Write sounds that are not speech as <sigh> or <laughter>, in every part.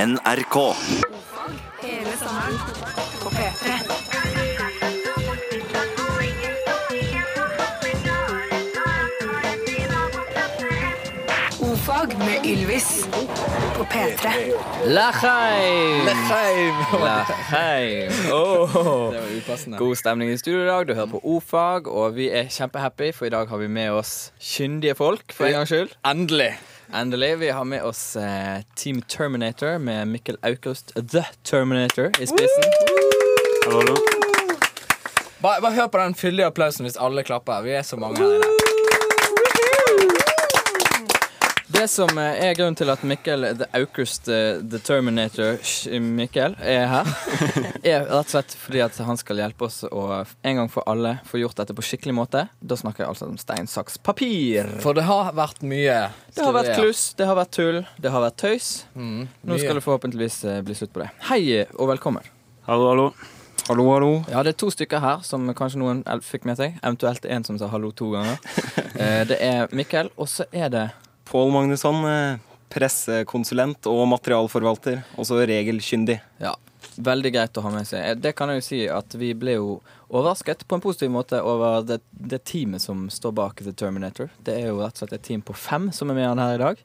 NRK. Hele sommeren på P3. Ofag med Ylvis på P3. Laheim! Lefheim! <laughs> Laheim. Det var upassende. God stemning i studio i dag. Du hører på O-fag, og vi er kjempehappy, for i dag har vi med oss kyndige folk. for en gangs skyld. Endelig. Endelig. Vi har med oss eh, Team Terminator med Mikkel Aukrust, The Terminator, i spissen. Bare, bare hør på den fyldige applausen hvis alle klapper. Vi er så mange her inne. Det som eh, er grunnen til at Mikkel The Aukrust, eh, The Terminator sh- Mikkel, er her, er rett og slett fordi at han skal hjelpe oss å en gang for alle få gjort dette på skikkelig måte. Da snakker jeg altså om stein, saks, papir. For det har vært mye. Det har vært skriverier. kluss, det har vært tull, det har vært tøys. Nå Mm, mye. skal det forhåpentligvis eh, bli slutt på det. Hei eh, og velkommen. Hallo, hallo. Hallo, hallo. Ja, det er to stykker her som kanskje noen el- fikk med seg. Eventuelt en som sa hallo to ganger. Eh, Det er Mikkel, og så er det Pål Magnusson, eh, pressekonsulent og materialforvalter. Også regelkyndig. Ja, veldig greit å ha med seg. Eh, Det kan jeg jo si at vi ble jo overrasket på en positiv måte over det, det teamet som står bak The Terminator. Det er jo rett og slett et team på fem som er med han her i dag.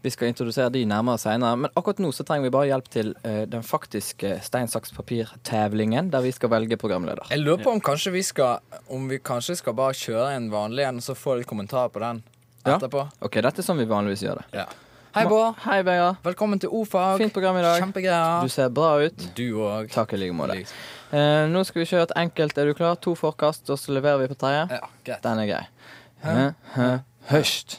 Vi skal introdusere de nærmere senere, men akkurat nå så trenger vi bare hjelp til eh, den faktiske stein, saks, papir-tevlingen, der vi skal velge programleder. Jeg lurer på om kanskje vi skal Om vi kanskje skal bare kjøre en vanlig en, og så få litt kommentarer på den Ja. etterpå. Ok, dette er sånn vi vanligvis gjør det. Ja. Hei, Bård. Hei, Vegard. Velkommen til O-fag. Fint program i dag. Du Kjempegreier. ser bra ut. Du òg. Takk i like måte. Eh, nå skal vi kjøre et enkelt Er du klar? To forkast, og så leverer vi på tredje. Ja, greit. Den er grei. Hø, hø, høst.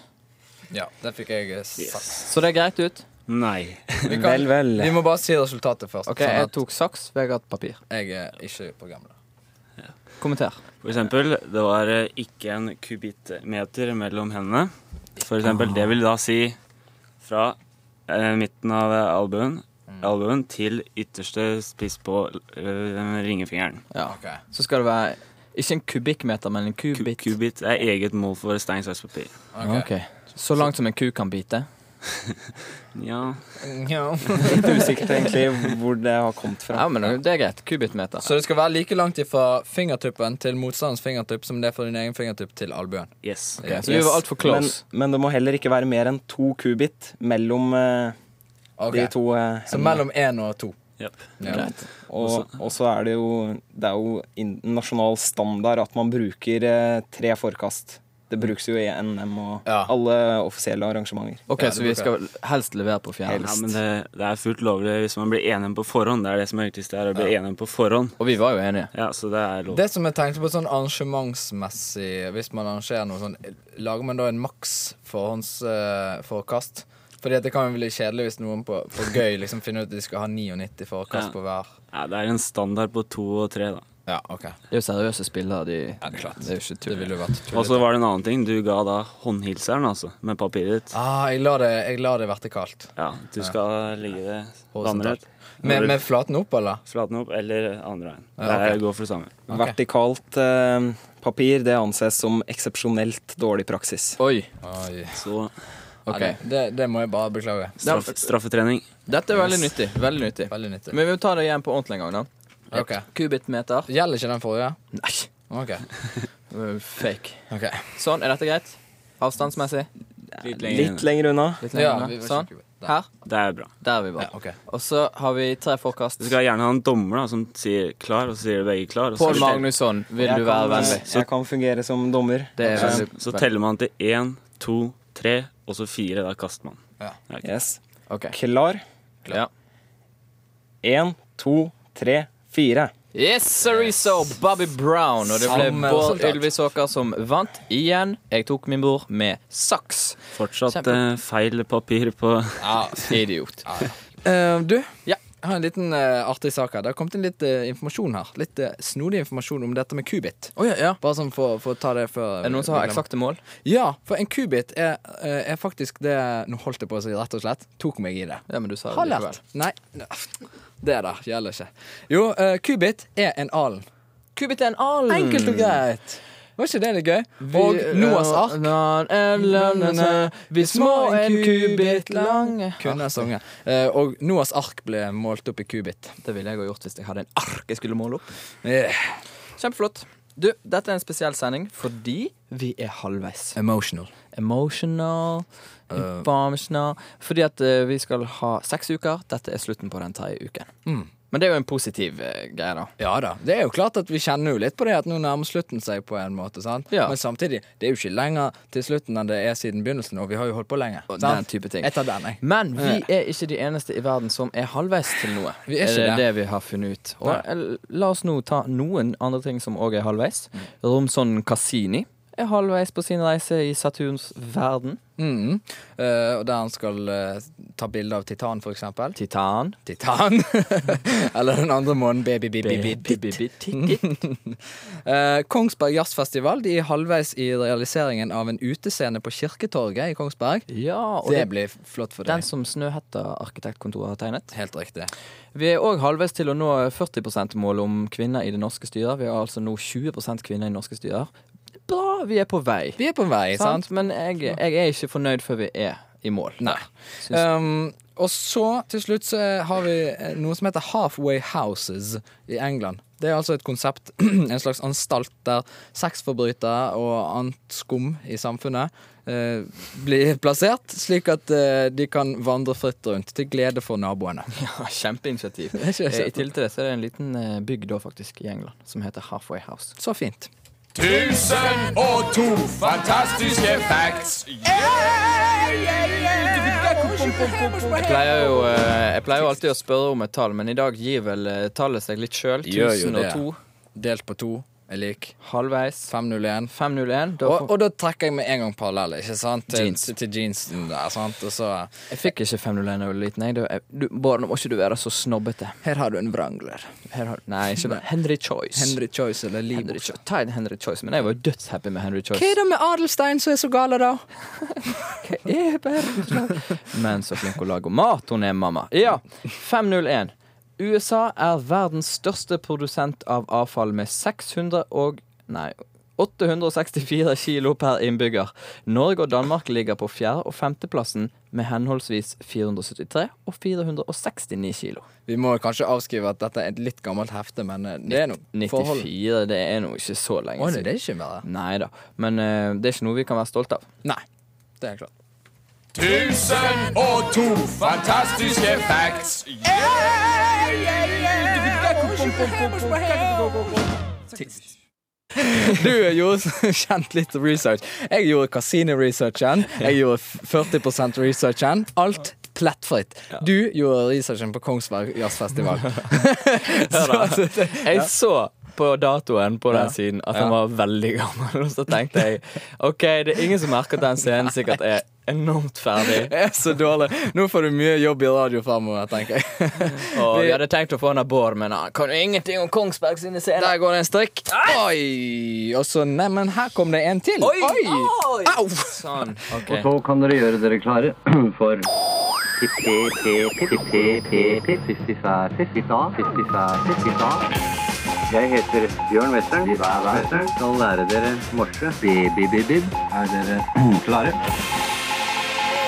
Ja, det fikk jeg eh, sagt. Så det er greit ut? Nei. Vi kan- Vel, vel. Vi må bare si resultatet først. Ok, sånn jeg at tok saks, Vegard papir. jeg er ikke programleder. Kommenter. For eksempel, det var eh, ikke en kubittmeter mellom hendene. For eksempel, det vil da si fra eh, midten av eh, albuen, Mm. albuen til ytterste spiss på eh, ringefingeren. Ja. Ok. Så skal det være ikke en kubikkmeter, men en Ku- kubit. Kubitt er eget mål for stein, saks, papir. Ok. Så langt som en ku kan bite. Ja, Ja. Litt usikkert egentlig hvor det har kommet fra. Ja, men det er greit. Kubittmeter. Så det skal være like langt fra fingertuppen til motstanderens fingertupp som det er fra din egen fingertupp til albuen. yes. Ok, så vi var altfor close. Men, men det må heller ikke være mer enn to kubit mellom eh, Ok. de to eh, Så mellom én og to. Yep. Ja. Greit. Og, og så er det jo Det er jo in- nasjonal standard at man bruker eh, tre forkast. Det brukes jo i NM og Ja. alle offisielle arrangementer. Ok, så vi skal helst levere på fjerde. Ja, men det, det er fullt lovlig hvis man blir enige på forhånd. Det er det som er viktigst, det er å bli enige på forhånd. Og vi var jo enige. Ja, så det er lov. Det som jeg tenkte på sånn arrangementsmessig Hvis man arrangerer noe sånn Lager man da en maks forhåndsforkast? Fordi at det kan jo bli kjedelig hvis noen på, på gøy liksom finner ut at de skal ha 99 forkast Ja. på hver. Ja, det er en standard på to og tre, da. Ja, ok. Det er jo seriøse spillere, de det er klart. Altså- Det er jo ikke Det tull. ville jo vært Og tullete. så var det en annen ting. Du ga da håndhilseren, altså, med papiret ditt. Ah, jeg la det, jeg la det vertikalt. Ja, du skal ligge det Horisontal. vandret. Med, med flaten opp, eller? Flaten opp eller andre veien. Ja, ok. Det går for det samme. Ok. Vertikalt eh, papir det anses som eksepsjonelt dårlig praksis. Oi. Oi. Så Ok. Ja, det, det må jeg bare beklage. straff, straffetrening. Dette er veldig nyttig. Veldig nyttig. Veldig nyttig. Men vi må ta det igjen på ordentlig en gang, da. Ok. Kubittmeter. Gjelder ikke den forrige? Nei. Ok. Øh, Fake. ok Sånn, er dette greit? Avstandsmessig? Litt Litt lenger unna. Litt Ja, lenger vi unna. var Sånn. ikke- der. Her. Det er bra. Der er vi Ja, var. ok. Og så har vi tre forkast. Du skal gjerne ha en dommer da, som sier klar, og så sier begge klar. Og så, Pål Magnusson, vil Jeg du være kan, eh, vennlig? Jeg kan fungere som dommer. Det er så, veldig så teller man til én, to, tre, og så fire. Da kaster man. Yes. Ok. Klar. Ja. Én, to, tre, fire. Yes, Cerizo, Bobby Brown. Og det ble Samme Bård resultat. Ylvisåker som vant igjen. Jeg tok min bror med saks. Fortsatt Kjempe. eh, feil papir på Ja. Idiot. Eh, du, Ja. jeg har en liten eh, artig sak her. Det har kommet inn litt eh, informasjon her. Litt eh, snodig informasjon om dette med kubit. Å ja, ja. Bare sånn for, for å ta det før Er det noen som har eksakte mål? Ja, for en kubit er, eh, er faktisk det Nå holdt jeg på å si rett og slett. Tok meg i det. Ja, men du sa det Har lært. likevel. Nei, det der gjelder ikke. Jo, eh, kubit er en alen. Kubit er en alen. eh, Enkelt og greit. Var ikke det litt gøy? Og Noas ark. Vi små en kubit lange. Kunne jeg sange. Eh, og Noas ark ble målt opp i kubit. Det ville jeg ha gjort hvis jeg hadde en ark jeg skulle måle opp. Eh, Kjempeflott. Du, dette er en spesiell sending fordi vi er halvveis. Emotional. Emotional, Eh. informational Fordi at eh, vi skal ha seks uker. Dette er slutten på den tredje uken. Mm. Men det er jo en positiv eh, greie, da. Ja da. Det er jo klart at vi kjenner jo litt på det at nå nærmer slutten seg på en måte, sant? Ja. Men samtidig, det er jo ikke lenger til slutten enn det er siden begynnelsen, og vi har jo holdt på lenge. Og sant? den type ting. Jeg tar den, jeg. Men vi er ikke de eneste i verden som er halvveis til noe. <laughs> Vi er ikke det, det. det vi har funnet ut. Og Nei. el- la oss nå ta noen andre ting som òg er halvveis. Mm. Romson Cassini er halvveis på sin reise i Saturns verden. Mm. Eh, og der han skal eh, ta bilde av Titan, for eksempel. Titan. Titan! <laughs> Eller den andre månen, baby, baby, baby, baby. Titan. Eh, Kongsberg Jazzfestival de er halvveis i realiseringen av en utescene på Kirketorget i Kongsberg. <laughs> Ja, og det det, blir flott for den deg. som Snøhetta arkitektkontor har tegnet. Helt riktig. Vi er òg halvveis til å nå 40 %-målet om kvinner i det norske styret. Vi har altså nå 20 kvinner i norske styrer. Bra, vi er på vei. Vi er på vei, sant? sant? Men jeg, jeg er ikke fornøyd før vi er i mål. Nei. Syns- Ehm, og så til slutt så eh, har vi eh, noe som heter Halfway Houses i England. Det er altså et konsept, <clears throat> en slags anstalt der sexforbrytere og annet skum i samfunnet eh, blir <laughs> plassert, slik at eh, de kan vandre fritt rundt, til glede for naboene. Ja, <laughs> Kjempeinitiativ. er ikke Eh, I sant. tillegg til <laughs> det så er det en liten eh, bygd da faktisk i England som heter Halfway House. Så fint. Tusen og to fantastiske facts. Jeg pleier jo, eh, jeg pleier jo alltid å spørre om et tall, men i dag gir vel eh, tallet seg litt sjøl. Gjør jo det. 1002, Delt på to er lik halvveis, 501. 501. Da Og, får, og da trekker jeg med en gang parallell, ikke sant? Til, Jeans. til jeansen der, sant? Og så jeg fikk ikke 501 da jeg var liten. jeg. Da- jeg- du- Bård, nå må ikke du være så snobbete. Her har du en vrangler. Her har, nei, ikke det. Henry Choice. Henry Choice eller Henry Libor. Choice. Ta en Henry Choice, men jeg var jo dødshappy med Henry Choice. Hva er det med Adelstein som er så gale, da? Jeg er verdensmester. <laughs> Men så flink å lage mat hun er, mamma. Ja, 501. USA er verdens største produsent av avfall med 600 og Nei. 864 kilo per innbygger. Norge og Danmark ligger på fjerde- og femteplassen med henholdsvis 473 og 469 kilo. Vi må kanskje avskrive at dette er et litt gammelt hefte, men eh, det er noe forhold. 94, det er nå ikke så Å, lenge nei, det siden. er ikke verre. Nei da. Men eh, det er ikke noe vi kan være stolte av. Nei. Det er klart. Tusen og to fantastiske facts. Du gjorde <laughs> kjent litt research. Jeg gjorde casino-researchen. Jeg gjorde f- 40 researchen. Alt plettfritt. Du gjorde researchen på Kongsberg <laughs> Jazzfestival. <laughs> Jeg så på datoen på den siden at han Ja. var veldig gammel, og så tenkte jeg OK, det er ingen som merker at den scenen sikkert er enormt ferdig. <laughs> Jeg er så dårlig. Nå får du mye jobb i radio fremover, tenker jeg. Og vi hadde tenkt å få han av Bård, men ah, han kan jo ingenting om Kongsberg sine scener. Der går det en strikk. Oi! Og så Neimen, her kom det en til. Oi! Au! Sånn. OK. Så kan dere gjøre dere klare for Jeg heter Bjørn Western. Jeg skal lære dere morse. Bi-bi-bi-bib. Er dere <clears throat> klare?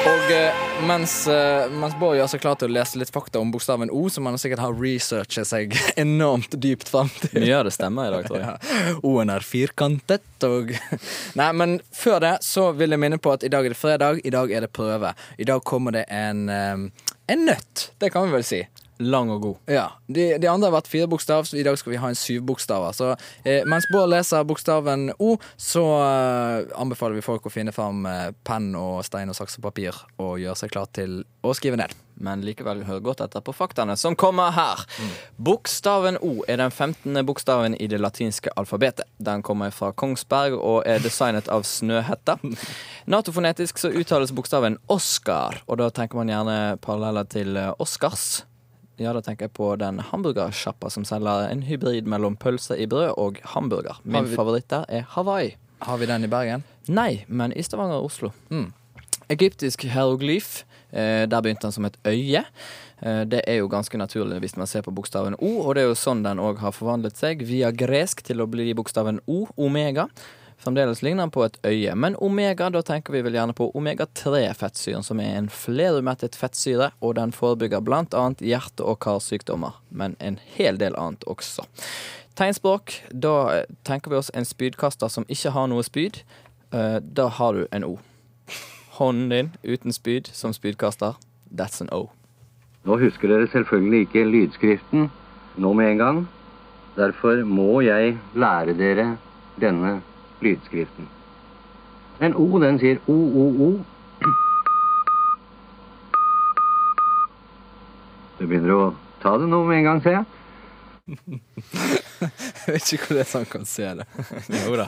Og eh, mens, eh, mens Bård gjør seg klar til å lese litt fakta om bokstaven O, som han sikkert har researchet seg <laughs> enormt dypt frem til Mye av det stemmer i dag, tror jeg. <laughs> ja. O-en er firkantet og <laughs> Nei, men før det så vil jeg minne på at i dag er det fredag, i dag er det prøve. I dag kommer det en, eh, en nøtt. Det kan vi vel si. Lang og god. Ja, de, de andre har vært fire bokstav, så i dag skal vi ha en syv bokstaver. Så eh, mens Bård leser bokstaven O, så eh, anbefaler vi folk å finne fram eh, penn og stein og saks og papir og gjøre seg klar til å skrive ned. men likevel hør godt etter på faktaene som kommer her. Mm. Bokstaven O er den 15. bokstaven i det latinske alfabetet. Den kommer fra Kongsberg og er designet av <laughs> Snøhetta. Natofonetisk så uttales bokstaven Oscar, og da tenker man gjerne paralleller til eh, Oscars. Ja, da tenker jeg på den hamburgersjappa som selger en hybrid mellom pølse i brød og hamburger. Min Har vi- favoritt der er Hawaii. Har vi den i Bergen? <laughs> Nei, men i Stavanger og Oslo. Mm. Egyptisk hieroglyf. Eh, der begynte den som et øye. Eh, det er jo ganske naturlig hvis man ser på bokstaven O, og det er jo sånn den òg har forvandlet seg, via gresk til å bli bokstaven O, omega. Fremdeles ligner den på et øye, men omega, da tenker vi vel gjerne på omega-3-fettsyren, som er en flerumettet fettsyre, og den forebygger blant annet hjerte- og karsykdommer, men en hel del annet også. Tegnspråk, da eh, tenker vi oss en spydkaster som ikke har noe spyd. Eh, Da har du en O. Hånden din uten spyd som spydkaster, that's an O. Nå husker dere selvfølgelig ikke lydskriften nå med en gang. Derfor må jeg lære dere denne lydskriften. Den O, den sier o-o-o. Du begynner å ta det nå med en gang, ser jeg. Jeg vet ikke hvordan han kan se det. sånn Jo da.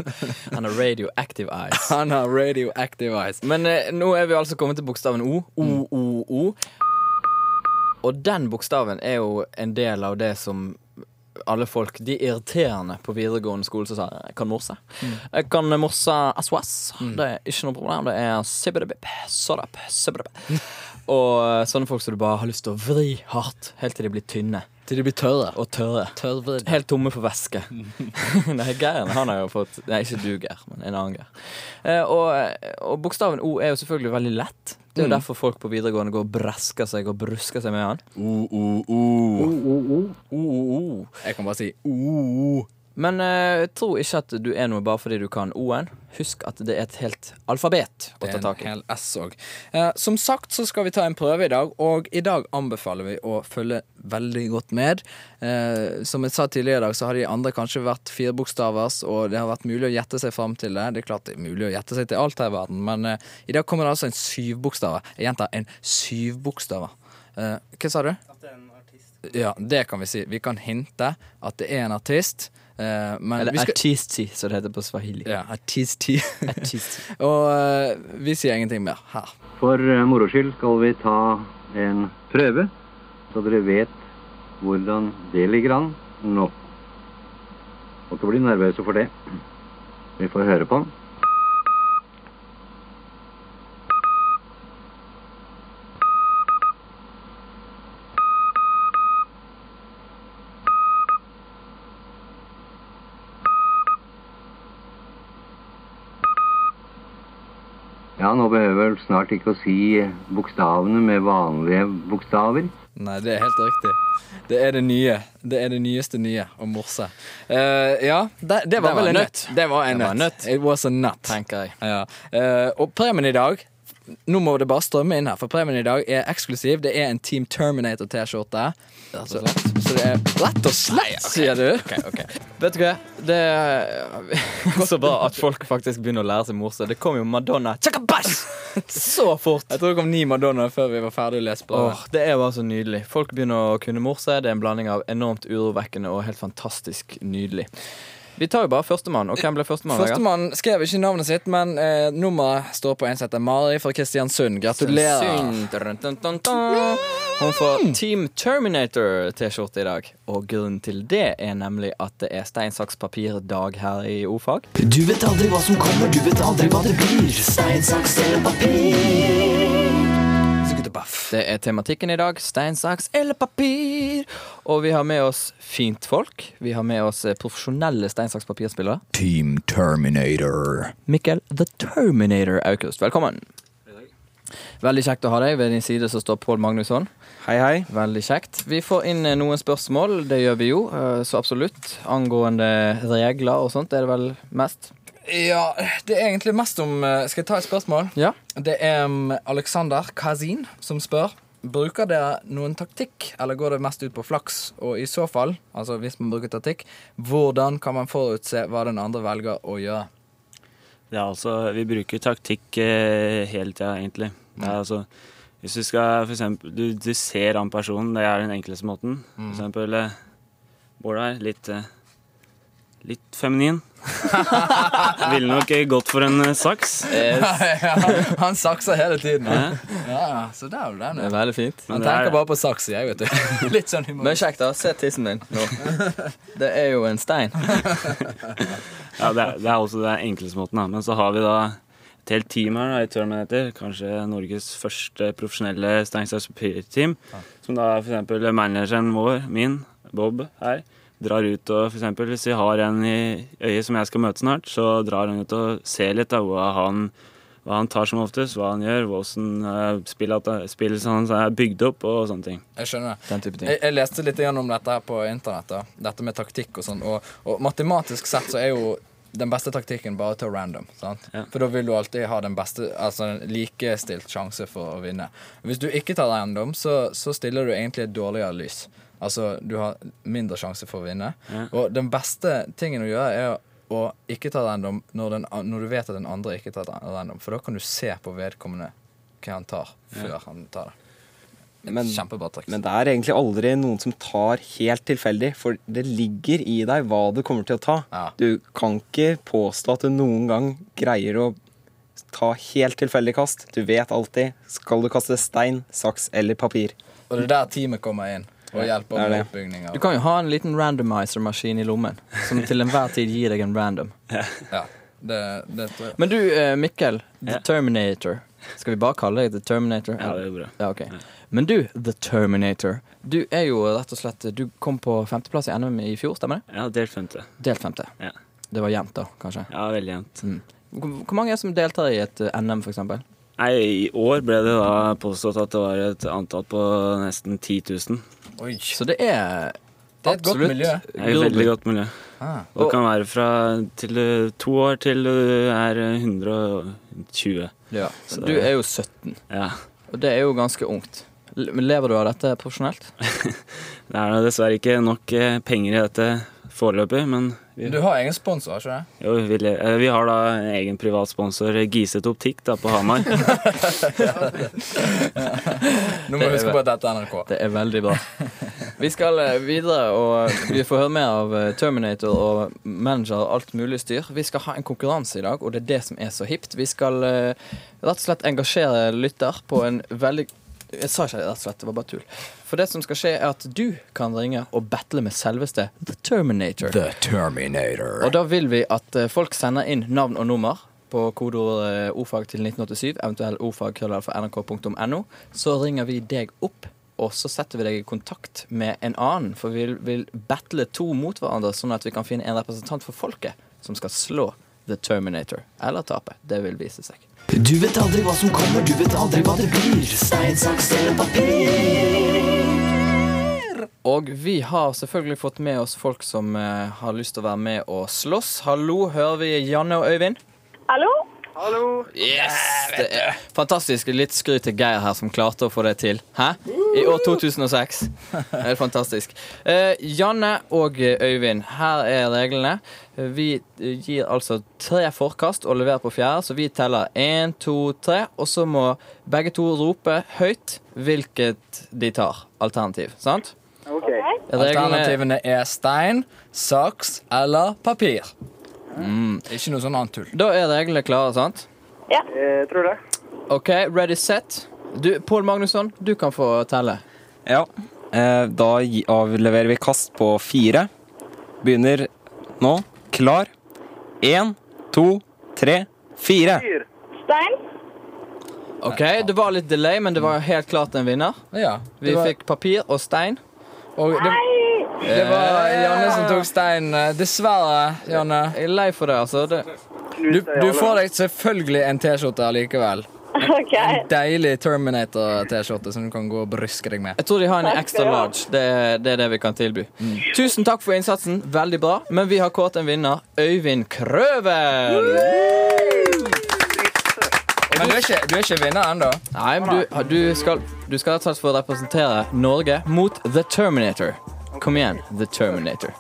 Han har radioactive eyes. Han har radioactive eyes. Men eh, nå er vi altså kommet til bokstaven O. O-o-o. Og den bokstaven er jo en del av det som alle folk, de irriterende på videregående skole som sa jeg kan morse. Mm. Jeg kan morse aswas. Det er ikke noe problem. Det er sibbedebib, sodap, sibbedebib. Og eh, sånne folk som du bare har lyst til å vri hardt helt til de blir tynne Til de blir tørre. Mm. og tørre. Tørrvridd. Helt tomme for væske. <laughs> Nei, Geiren han har jo fått Nei, ikke du, Geir, men en annen Geir. Eh, og, og bokstaven O er jo selvfølgelig veldig lett. Det er Mm. jo derfor folk på videregående går og bresker seg og brusker seg med han. O-o-o. Jeg kan bare si o. Men eh, tro ikke at du er noe bare fordi du kan O-en. Husk at det er et helt alfabet å ta Det er en tak i. hel S òg. Eh, som sagt så skal vi ta en prøve i dag, og i dag anbefaler vi å følge veldig godt med. Eh, som jeg sa tidligere i dag, så har de andre kanskje vært firebokstavers, og det har vært mulig å gjette seg fram til det. Det er klart det er mulig å gjette seg til alt her i verden, men eh, i dag kommer det altså en syvbokstaver. Jeg gjentar en syvbokstaver. Eh, hva sa du? Ja, det kan vi si. Vi kan hinte at det er en artist. Eh, men Eller vi skal, artisti, som det heter på swahili. ja, artisti. Artisti. <laughs> og eh, vi sier ingenting mer her. For eh, moro skyld skal vi ta en prøve, så dere vet hvordan det ligger an nå. Må ikke bli nervøse for det. Vi får høre på den. Ja, nå behøver jeg vel snart ikke å si bokstavene med vanlige bokstaver. Nei, det er helt riktig. Det er det nye. Det er det nyeste nye å morse. Eh, ja, det, det var var vel en en nøtt. Det var en Det var en nøtt. It was a nut. Tenker jeg. Ja. Eh, og premien i dag Nå må det bare strømme inn her, for premien i dag er eksklusiv. Det er en Team Terminator-T-skjorte. Så, så det er rett og slett, sier du. Vet du hva? Det er <laughs> så bra at folk faktisk begynner å lære seg morse. Det kom jo Madonna tjakabash! så fort. Jeg tror det kom ni Madonna før vi var ferdig å lese på Åh, det er bare så nydelig. Folk begynner å kunne morse. Det er en blanding av enormt urovekkende og helt fantastisk nydelig. Vi tar jo bare førstemann. Og hvem ble førstemann? Vegard? Førstemann skrev ikke navnet sitt, men eh, nummeret står på en sette. Mari fra Kristiansund. Gratulerer. Synd. Dun, dun, dun, dun. Hun får Mm. Team Terminator-T-skjorte i dag. Og grunnen til det er nemlig at det er stein, saks, papir-dag her i O-fag. Du vet aldri hva som kommer, du vet aldri hva det blir. Stein, saks eller papir. Det er tematikken i dag. Stein, saks eller papir. Og vi har med oss fint folk. Vi har med oss eh, profesjonelle stein, saks, papir-spillere. Team Terminator. Mikkel The Terminator Aukust. Velkommen. Veldig kjekt å ha deg. Ved din side så står Pål Magnusson. Hei, hei. Veldig kjekt. Vi får inn eh, noen spørsmål, det gjør vi jo, eh, så absolutt. Angående regler og sånt er det vel mest. Ja, det er egentlig mest om eh, Skal jeg ta et spørsmål? Ja. Det er um, Alexander Kazin som spør. Bruker dere noen taktikk, eller går det mest ut på flaks? Og i så fall, altså hvis man bruker taktikk, hvordan kan man forutse hva den andre velger å gjøre? Det er altså, vi bruker taktikk eh, hele tida, egentlig. Det er altså, hvis du skal for eksempel, du, du ser an personen, det er den enkleste måten. For eksempel eh, Bård her, litt, eh, litt feminin. Ville nok eh, gått for en eh, saks. <laughs> Han sakser hele tiden. Ja. Ja, så der er du den. Det ja. er veldig fint. Han det er- tenker bare på saks, jeg, vet du. <laughs> Litt sånn humor. Men kjekt, da. Se tissen din nå. <laughs> Det er jo en stein. Ja, det, er, det er også den enkleste måten, da. Men så har vi da et helt team her da, i Terminator. Kanskje Norges første profesjonelle Steinsdals papir-team. Som da for eksempel manageren vår, min, Bob, her. drar ut og for eksempel hvis vi har en i øyet som jeg skal møte snart, så drar han ut og ser litt da, hva han hva han tar som oftest, hva han gjør, hvordan spillet, spillet hans er bygd opp og sånne ting. Jeg skjønner det. Den type ting. Jeg, jeg leste litt grann om dette her på internett. da Dette med taktikk og sånn. Og, og matematisk sett så er jo den beste taktikken bare til random. Sant? Ja. For da vil du alltid ha den beste Altså en likestilt sjanse for å vinne. Hvis du ikke tar random, så, så stiller du egentlig et dårligere lys. Altså du har mindre sjanse for å vinne. Og den beste tingen å gjøre er å ikke ta random når, den, an- når du vet at den andre ikke tar random. For da kan du se på vedkommende hva han tar, før han tar det. Men- Kjempebra triks. Men det er egentlig aldri noen som tar helt tilfeldig, for det ligger i deg hva du kommer til å ta. Ja. Du kan ikke påstå at du noen gang greier å ta helt tilfeldig kast. Du vet alltid. Skal du kaste stein, saks eller papir? Og det er der teamet kommer inn og hjelper det er med det. oppbygninger. Du kan jo ha en liten randomizer-maskin i lommen som til enhver tid gir deg en random. Ja, det, det tror jeg. Men du, eh, Mikkel, The Ja. Terminator. Skal vi bare kalle deg The Terminator? Ja, det er bra. Ja, ok. Men du, The Terminator. Du er jo rett og slett Du kom på femteplass i NM i fjor, stemmer det? Ja, delt femte. Delt femte. Ja. Det var jevnt, da, kanskje. Ja, veldig jevnt. Hvor hvor mange er det som deltar i et eh, NM, for eksempel? Nei, i år ble det da påstått at det var et antall på nesten 10 000. Oi. Så det er Det er et godt absolutt miljø. Det er et veldig godt miljø. Ah. Og kan være fra til du- to år til du er eh, 120. Ja. Så- Du er jo 17, Ja. og det er jo ganske ungt. Le- men Lever du av dette profesjonelt? Det er da dessverre ikke nok eh, penger i dette foreløpig, men vi, Du har egen sponsor, har ikke det? jo, vi, le- eh, vi har da en egen privat sponsor, eh, Giset Optikk, da på Hamar. Nå må Det vi er huske på at dette er NRK. Det er veldig bra. Vi skal eh, videre, og vi får høre mer av eh, Terminator og manager og alt mulig styr. Vi skal ha en konkurranse i dag, og det er det som er så hipt. Vi skal eh, rett og slett engasjere lytter på en veldig Jeg sa ikke det, rett og slett. Det var bare tull. For det som skal skje, er at du kan ringe og battle med selveste The Terminator. The Terminator. Og da vil vi at eh, folk sender inn navn og nummer på kodeord eh, ordfag til 1987, eventuell ordfag.nrk.no. Så ringer vi deg opp, og så setter vi deg i kontakt med en annen. For vi vil, vil battle to mot hverandre, sånn at vi kan finne en representant for folket som skal slå The Terminator. Eller tape. Det vil vise seg. Du vet aldri hva som kommer, du vet aldri hva det blir. Stein, saks eller papir. Og vi har selvfølgelig fått med oss folk som eh, har lyst til å være med og slåss. Hallo, hører vi Janne og Øyvind? Hallo? Yes! Det er fantastisk. Litt skryt til Geir her, som klarte å få det til. Hæ? I år 2006. Det er fantastisk. Eh, Janne og eh, Øyvind, her er reglene. Eh, Vi eh, gir altså tre forkast og leverer på fjerde, så vi teller én, to, tre. Og så må begge to rope høyt hvilket de tar. Alternativ, sant? Reglene- Alternativene er stein, saks eller papir. Ikke noe sånn annet tull. Da er reglene klare, sant? Ja. OK, ready, set. Du, Pål Magnusson, du kan få telle. Ja. Eh, da gi- avleverer vi kast på fire. Begynner nå. Klar. Én, to, tre, fire. Stein? Ok, Det var litt delay, men det var helt klart en vinner. Ja, Vi det var, fikk papir og stein. og det, Nei. det var Janne som tok stein. eh, Dessverre, Janne. Jeg er lei for det, altså. Det, Du, du får deg selvfølgelig en T-skjorte allikevel. OK. Deilig Terminator-T-skjorte som du kan gå og bryske deg med. jeg tror de har Takk en skal extra du ha. large. Det, er- det er det vi kan tilby. Mm. Tusen takk for innsatsen. Veldig bra. Men vi har kåret en vinner. Øyvind Krøvel. Men du er ikke, du er ikke vinner ennå. Nei, men du, du skal Du skal rett og slett få representere Norge mot The Terminator. Kom igjen, The Terminator.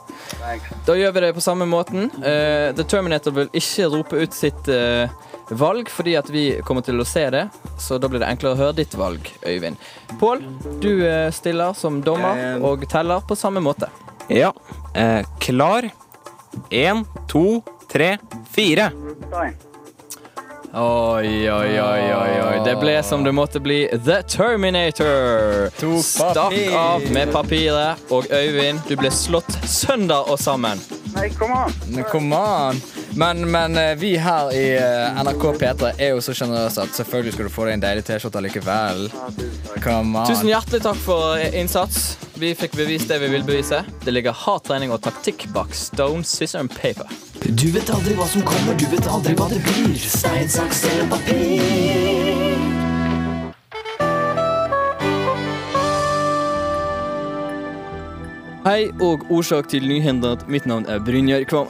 Da gjør vi det på samme måten. Eh, The Terminator vil ikke rope ut sitt eh, valg, fordi at vi kommer til å se det. Så da blir det enklere å høre ditt valg, Øyvind. Pål, du eh, stiller som dommer Jeg, eh, og teller på samme måte. Ja. Eh, klar. Én, to, tre, fire. Oi, oi, oi, oi, oi. Det ble som det måtte bli. The Terminator. Tok Stakk papir. av med papiret. Og Øyvind, du ble slått sønder og sammen. Men Come on! Men, men eh, vi her i eh, NRK P3 er jo så sjenerøse at selvfølgelig skal du få deg en deilig T-skjorte likevel. Come on. Tusen hjertelig takk for eh, innsats. Vi fikk bevist det vi vil bevise. Det ligger hard trening og taktikk bak stone, scissor and paper. Du vet aldri hva som kommer, du vet aldri hva det blir. Stein, saks eller papir. Hei og årsak til nyhendene. Mitt navn er Brynjar Kvam.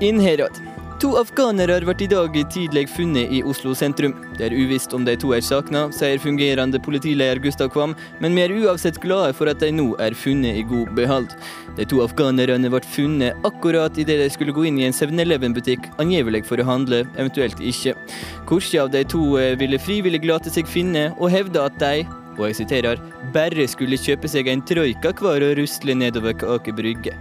Inn herad. To afghanere har vært i dag tidlig funnet i Oslo sentrum. Det er uvisst om de to er savna, sier fungerende politileder Gustav Kvam, men vi er uansett glade for at de nå er funnet i god behold. De to afghanerne ble funnet akkurat idet de skulle gå inn i en 7-Eleven-butikk, angivelig for å handle, eventuelt ikke. Hvilken av de to eh, ville frivillig late seg finne, og hevde at de og jeg siterer, bare skulle kjøpe seg en troika hver og rusle nedover Aker Brygge.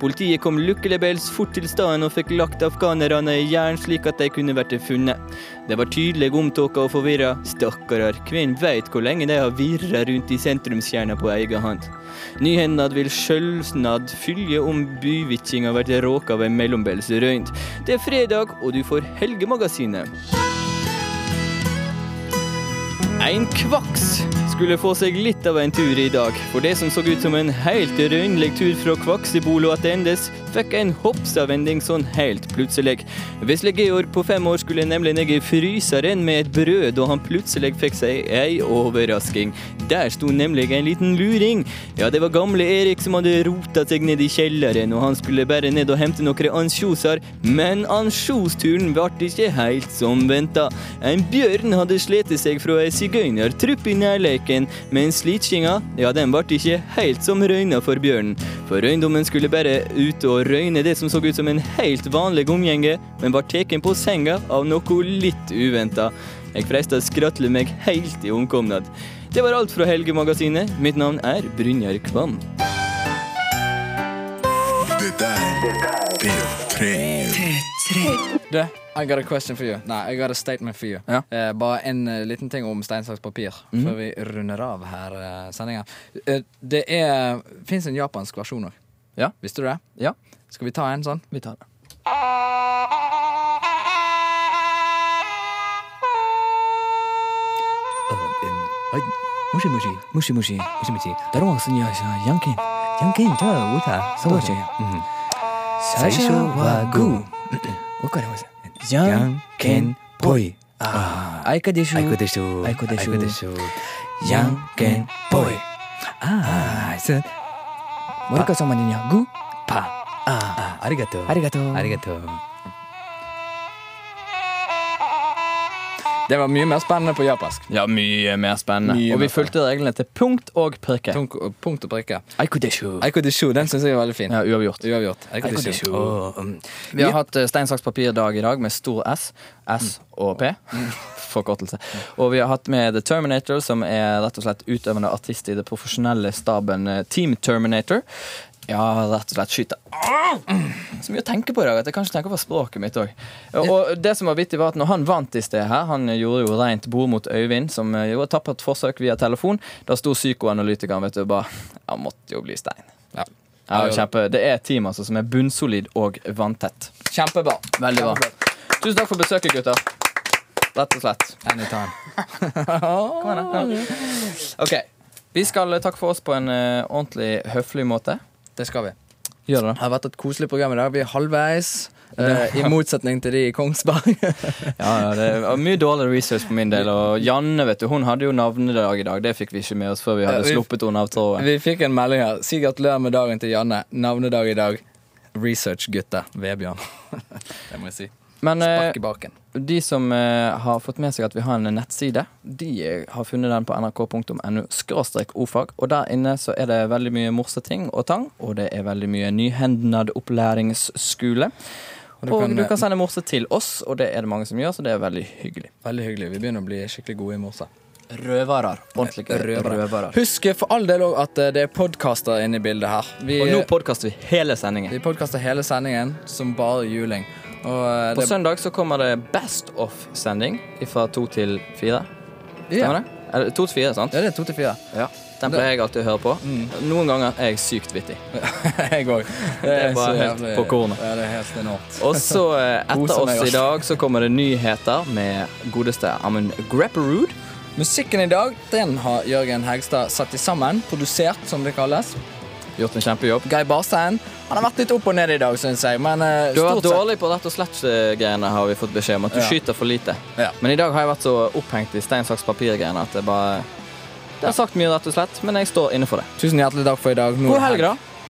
Politiet kom lukkelebbels fort til staden og fikk lagt afghanerne i jern slik at de kunne vært funnet. De var tydelig omtåka og forvirra. Stakkarer, hvem veit hvor lenge de har virra rundt i sentrumskjerna på egen hånd. Nyhendene vil sjølvsnad fylje om byvitjinga har vært råka av ei mellombels røynd. Det er fredag, og du får Helgemagasinet. En kvaks skulle få seg litt av en tur i dag, for det som så ut som en helt røynlig tur fra Kvaksebolo attendes, fikk en hoppsavending sånn helt plutselig. Vesle Georg på fem år skulle nemlig ned i fryseren med et brød da han plutselig fikk seg ei overrasking. Der sto nemlig en liten luring. Ja, det var gamle Erik som hadde rota seg ned i kjelleren, og han skulle bare ned og hente noen ansjoser, men ansjosturen ble ikke helt som venta. En bjørn hadde slitt seg fra ei sigøynertrupp i nærleiken, men slitskinga, ja, den ble ikke helt som røyna for bjørnen. For røyndommen skulle bare ut og røyne det som så ut som en helt vanlig omgjenge, men ble tatt på senga av noe litt uventa. Jeg freista å skratle meg helt i omkomnad. Det var alt fra Helgemagasinet. Mitt navn er Brynjar Kvam. Du, I got a question for you. Nei, I got a statement for you. Ja. Mhm. Eh, bare en eh, liten ting om stein, saks, papir før vi runder av her eh, sendinga. Eh, det er fins en japansk versjon òg. Ja. Visste du det? Ja, Skal vi ta en sånn? vi tar det. Mm-hmm. <clears throat> Ah, Ah. Ah. Ah, Ah. Ah, Det var mye mer spennende på japansk. Ja, mye mer spennende. Mye og vi mer fulgte reglene til punkt og prikke. Tunk- og eh, Punkt og prikke. Aikodeshu. Aikodishu, den syns jeg er veldig fin. Ja, uavgjort. Uavgjort. Aikodishu. Aikodeshu. Vi har hatt eh, stein, saks, papir-dag i dag med stor S. S Mm. og P. Forkortelse. Og vi har hatt med The Terminator, som er rett og slett utøvende artist i det profesjonelle staben eh, Team Terminator. Ja, rett og slett skyte. Så mye å tenke på i dag at jeg kanskje tenker på språket mitt òg. Og det som var vittig, var at når han vant i sted her, han eh, gjorde jo rent bord mot Øyvind, som eh, gjorde et tappert forsøk via telefon, da sto psykoanalytikeren vet du, og bare Han måtte jo bli stein. Ja. Ja, det er kjempe, det er et team altså, som er bunnsolid og vanntett. Kjempebra. Veldig bra. Tusen takk for besøket, gutter. Rett og slett. <laughs> Anytime. Kom igjen, da. OK. Vi skal eh, takke for oss på en eh, ordentlig høflig måte. Det skal vi. Gjør det. Det har vært et koselig program i dag. Vi er halvveis. eh, I motsetning til de i <laughs> Kongsberg. Ja, ja, det var mye dårlig research på min del. Og Janne vet du, hun hadde jo navnedag i dag. Det fikk vi ikke med oss før vi Ja, hadde vi- sluppet henne av tråden. vi fikk en melding her. Si gratulerer med dagen til Janne. Navnedag i dag. Research-gutte. Vebjørn. <laughs> det må jeg si. Men eh, Spark i baken. de som eh, har fått med seg at vi har en nettside, de eh, har funnet den på nrk.no skråstrek ofag. Og der inne så er det veldig mye morseting og tang, og det er veldig mye nyhendnad opplæringsskole. Og du du, kan, kan, eh, sende morse til oss, og det er det mange som gjør, så det er veldig hyggelig. Veldig hyggelig. Vi begynner å bli skikkelig gode i morse. Røvarar. Ordentlige Røvere. røvarar. Husk for all del òg at eh, det er podkaster inne i bildet her. Vi, eh, Og nå podkaster vi hele sendingen. vi podkaster hele sendingen som bare juling. Og eh, På det, søndag så kommer det Best of-sending fra to til fire. Stemmer ja. det? Eller to til fire, sant? ja, det er to til fire. Ja. Mm. Den pleier jeg alltid å høre på. Noen ganger er jeg sykt vittig. <laughs> Jeg òg. Det er bare så helt jævlig- på kornet. Ja, det er helt enormt. Og så eh, etter Koser meg, oss i altså. dag så kommer det nyheter med godeste Amund Grepperud. Musikken i dag den har Jørgen Hegstad satt i sammen, produsert, som det kalles. Gjort en kjempejobb. Geir Barstein han har vært litt opp og ned i dag, syns jeg. Men eh, Du har vært stort sett dårlig på rett og slett-greiene, har vi fått beskjed om. At du Ja. skyter for lite. Ja. Men i dag har jeg vært så opphengt i stein, saks, papir-greiene at jeg bare Det har sagt mye, rett og slett, men jeg står inne for det. Tusen hjertelig takk for i dag. Nå er God helg, det da.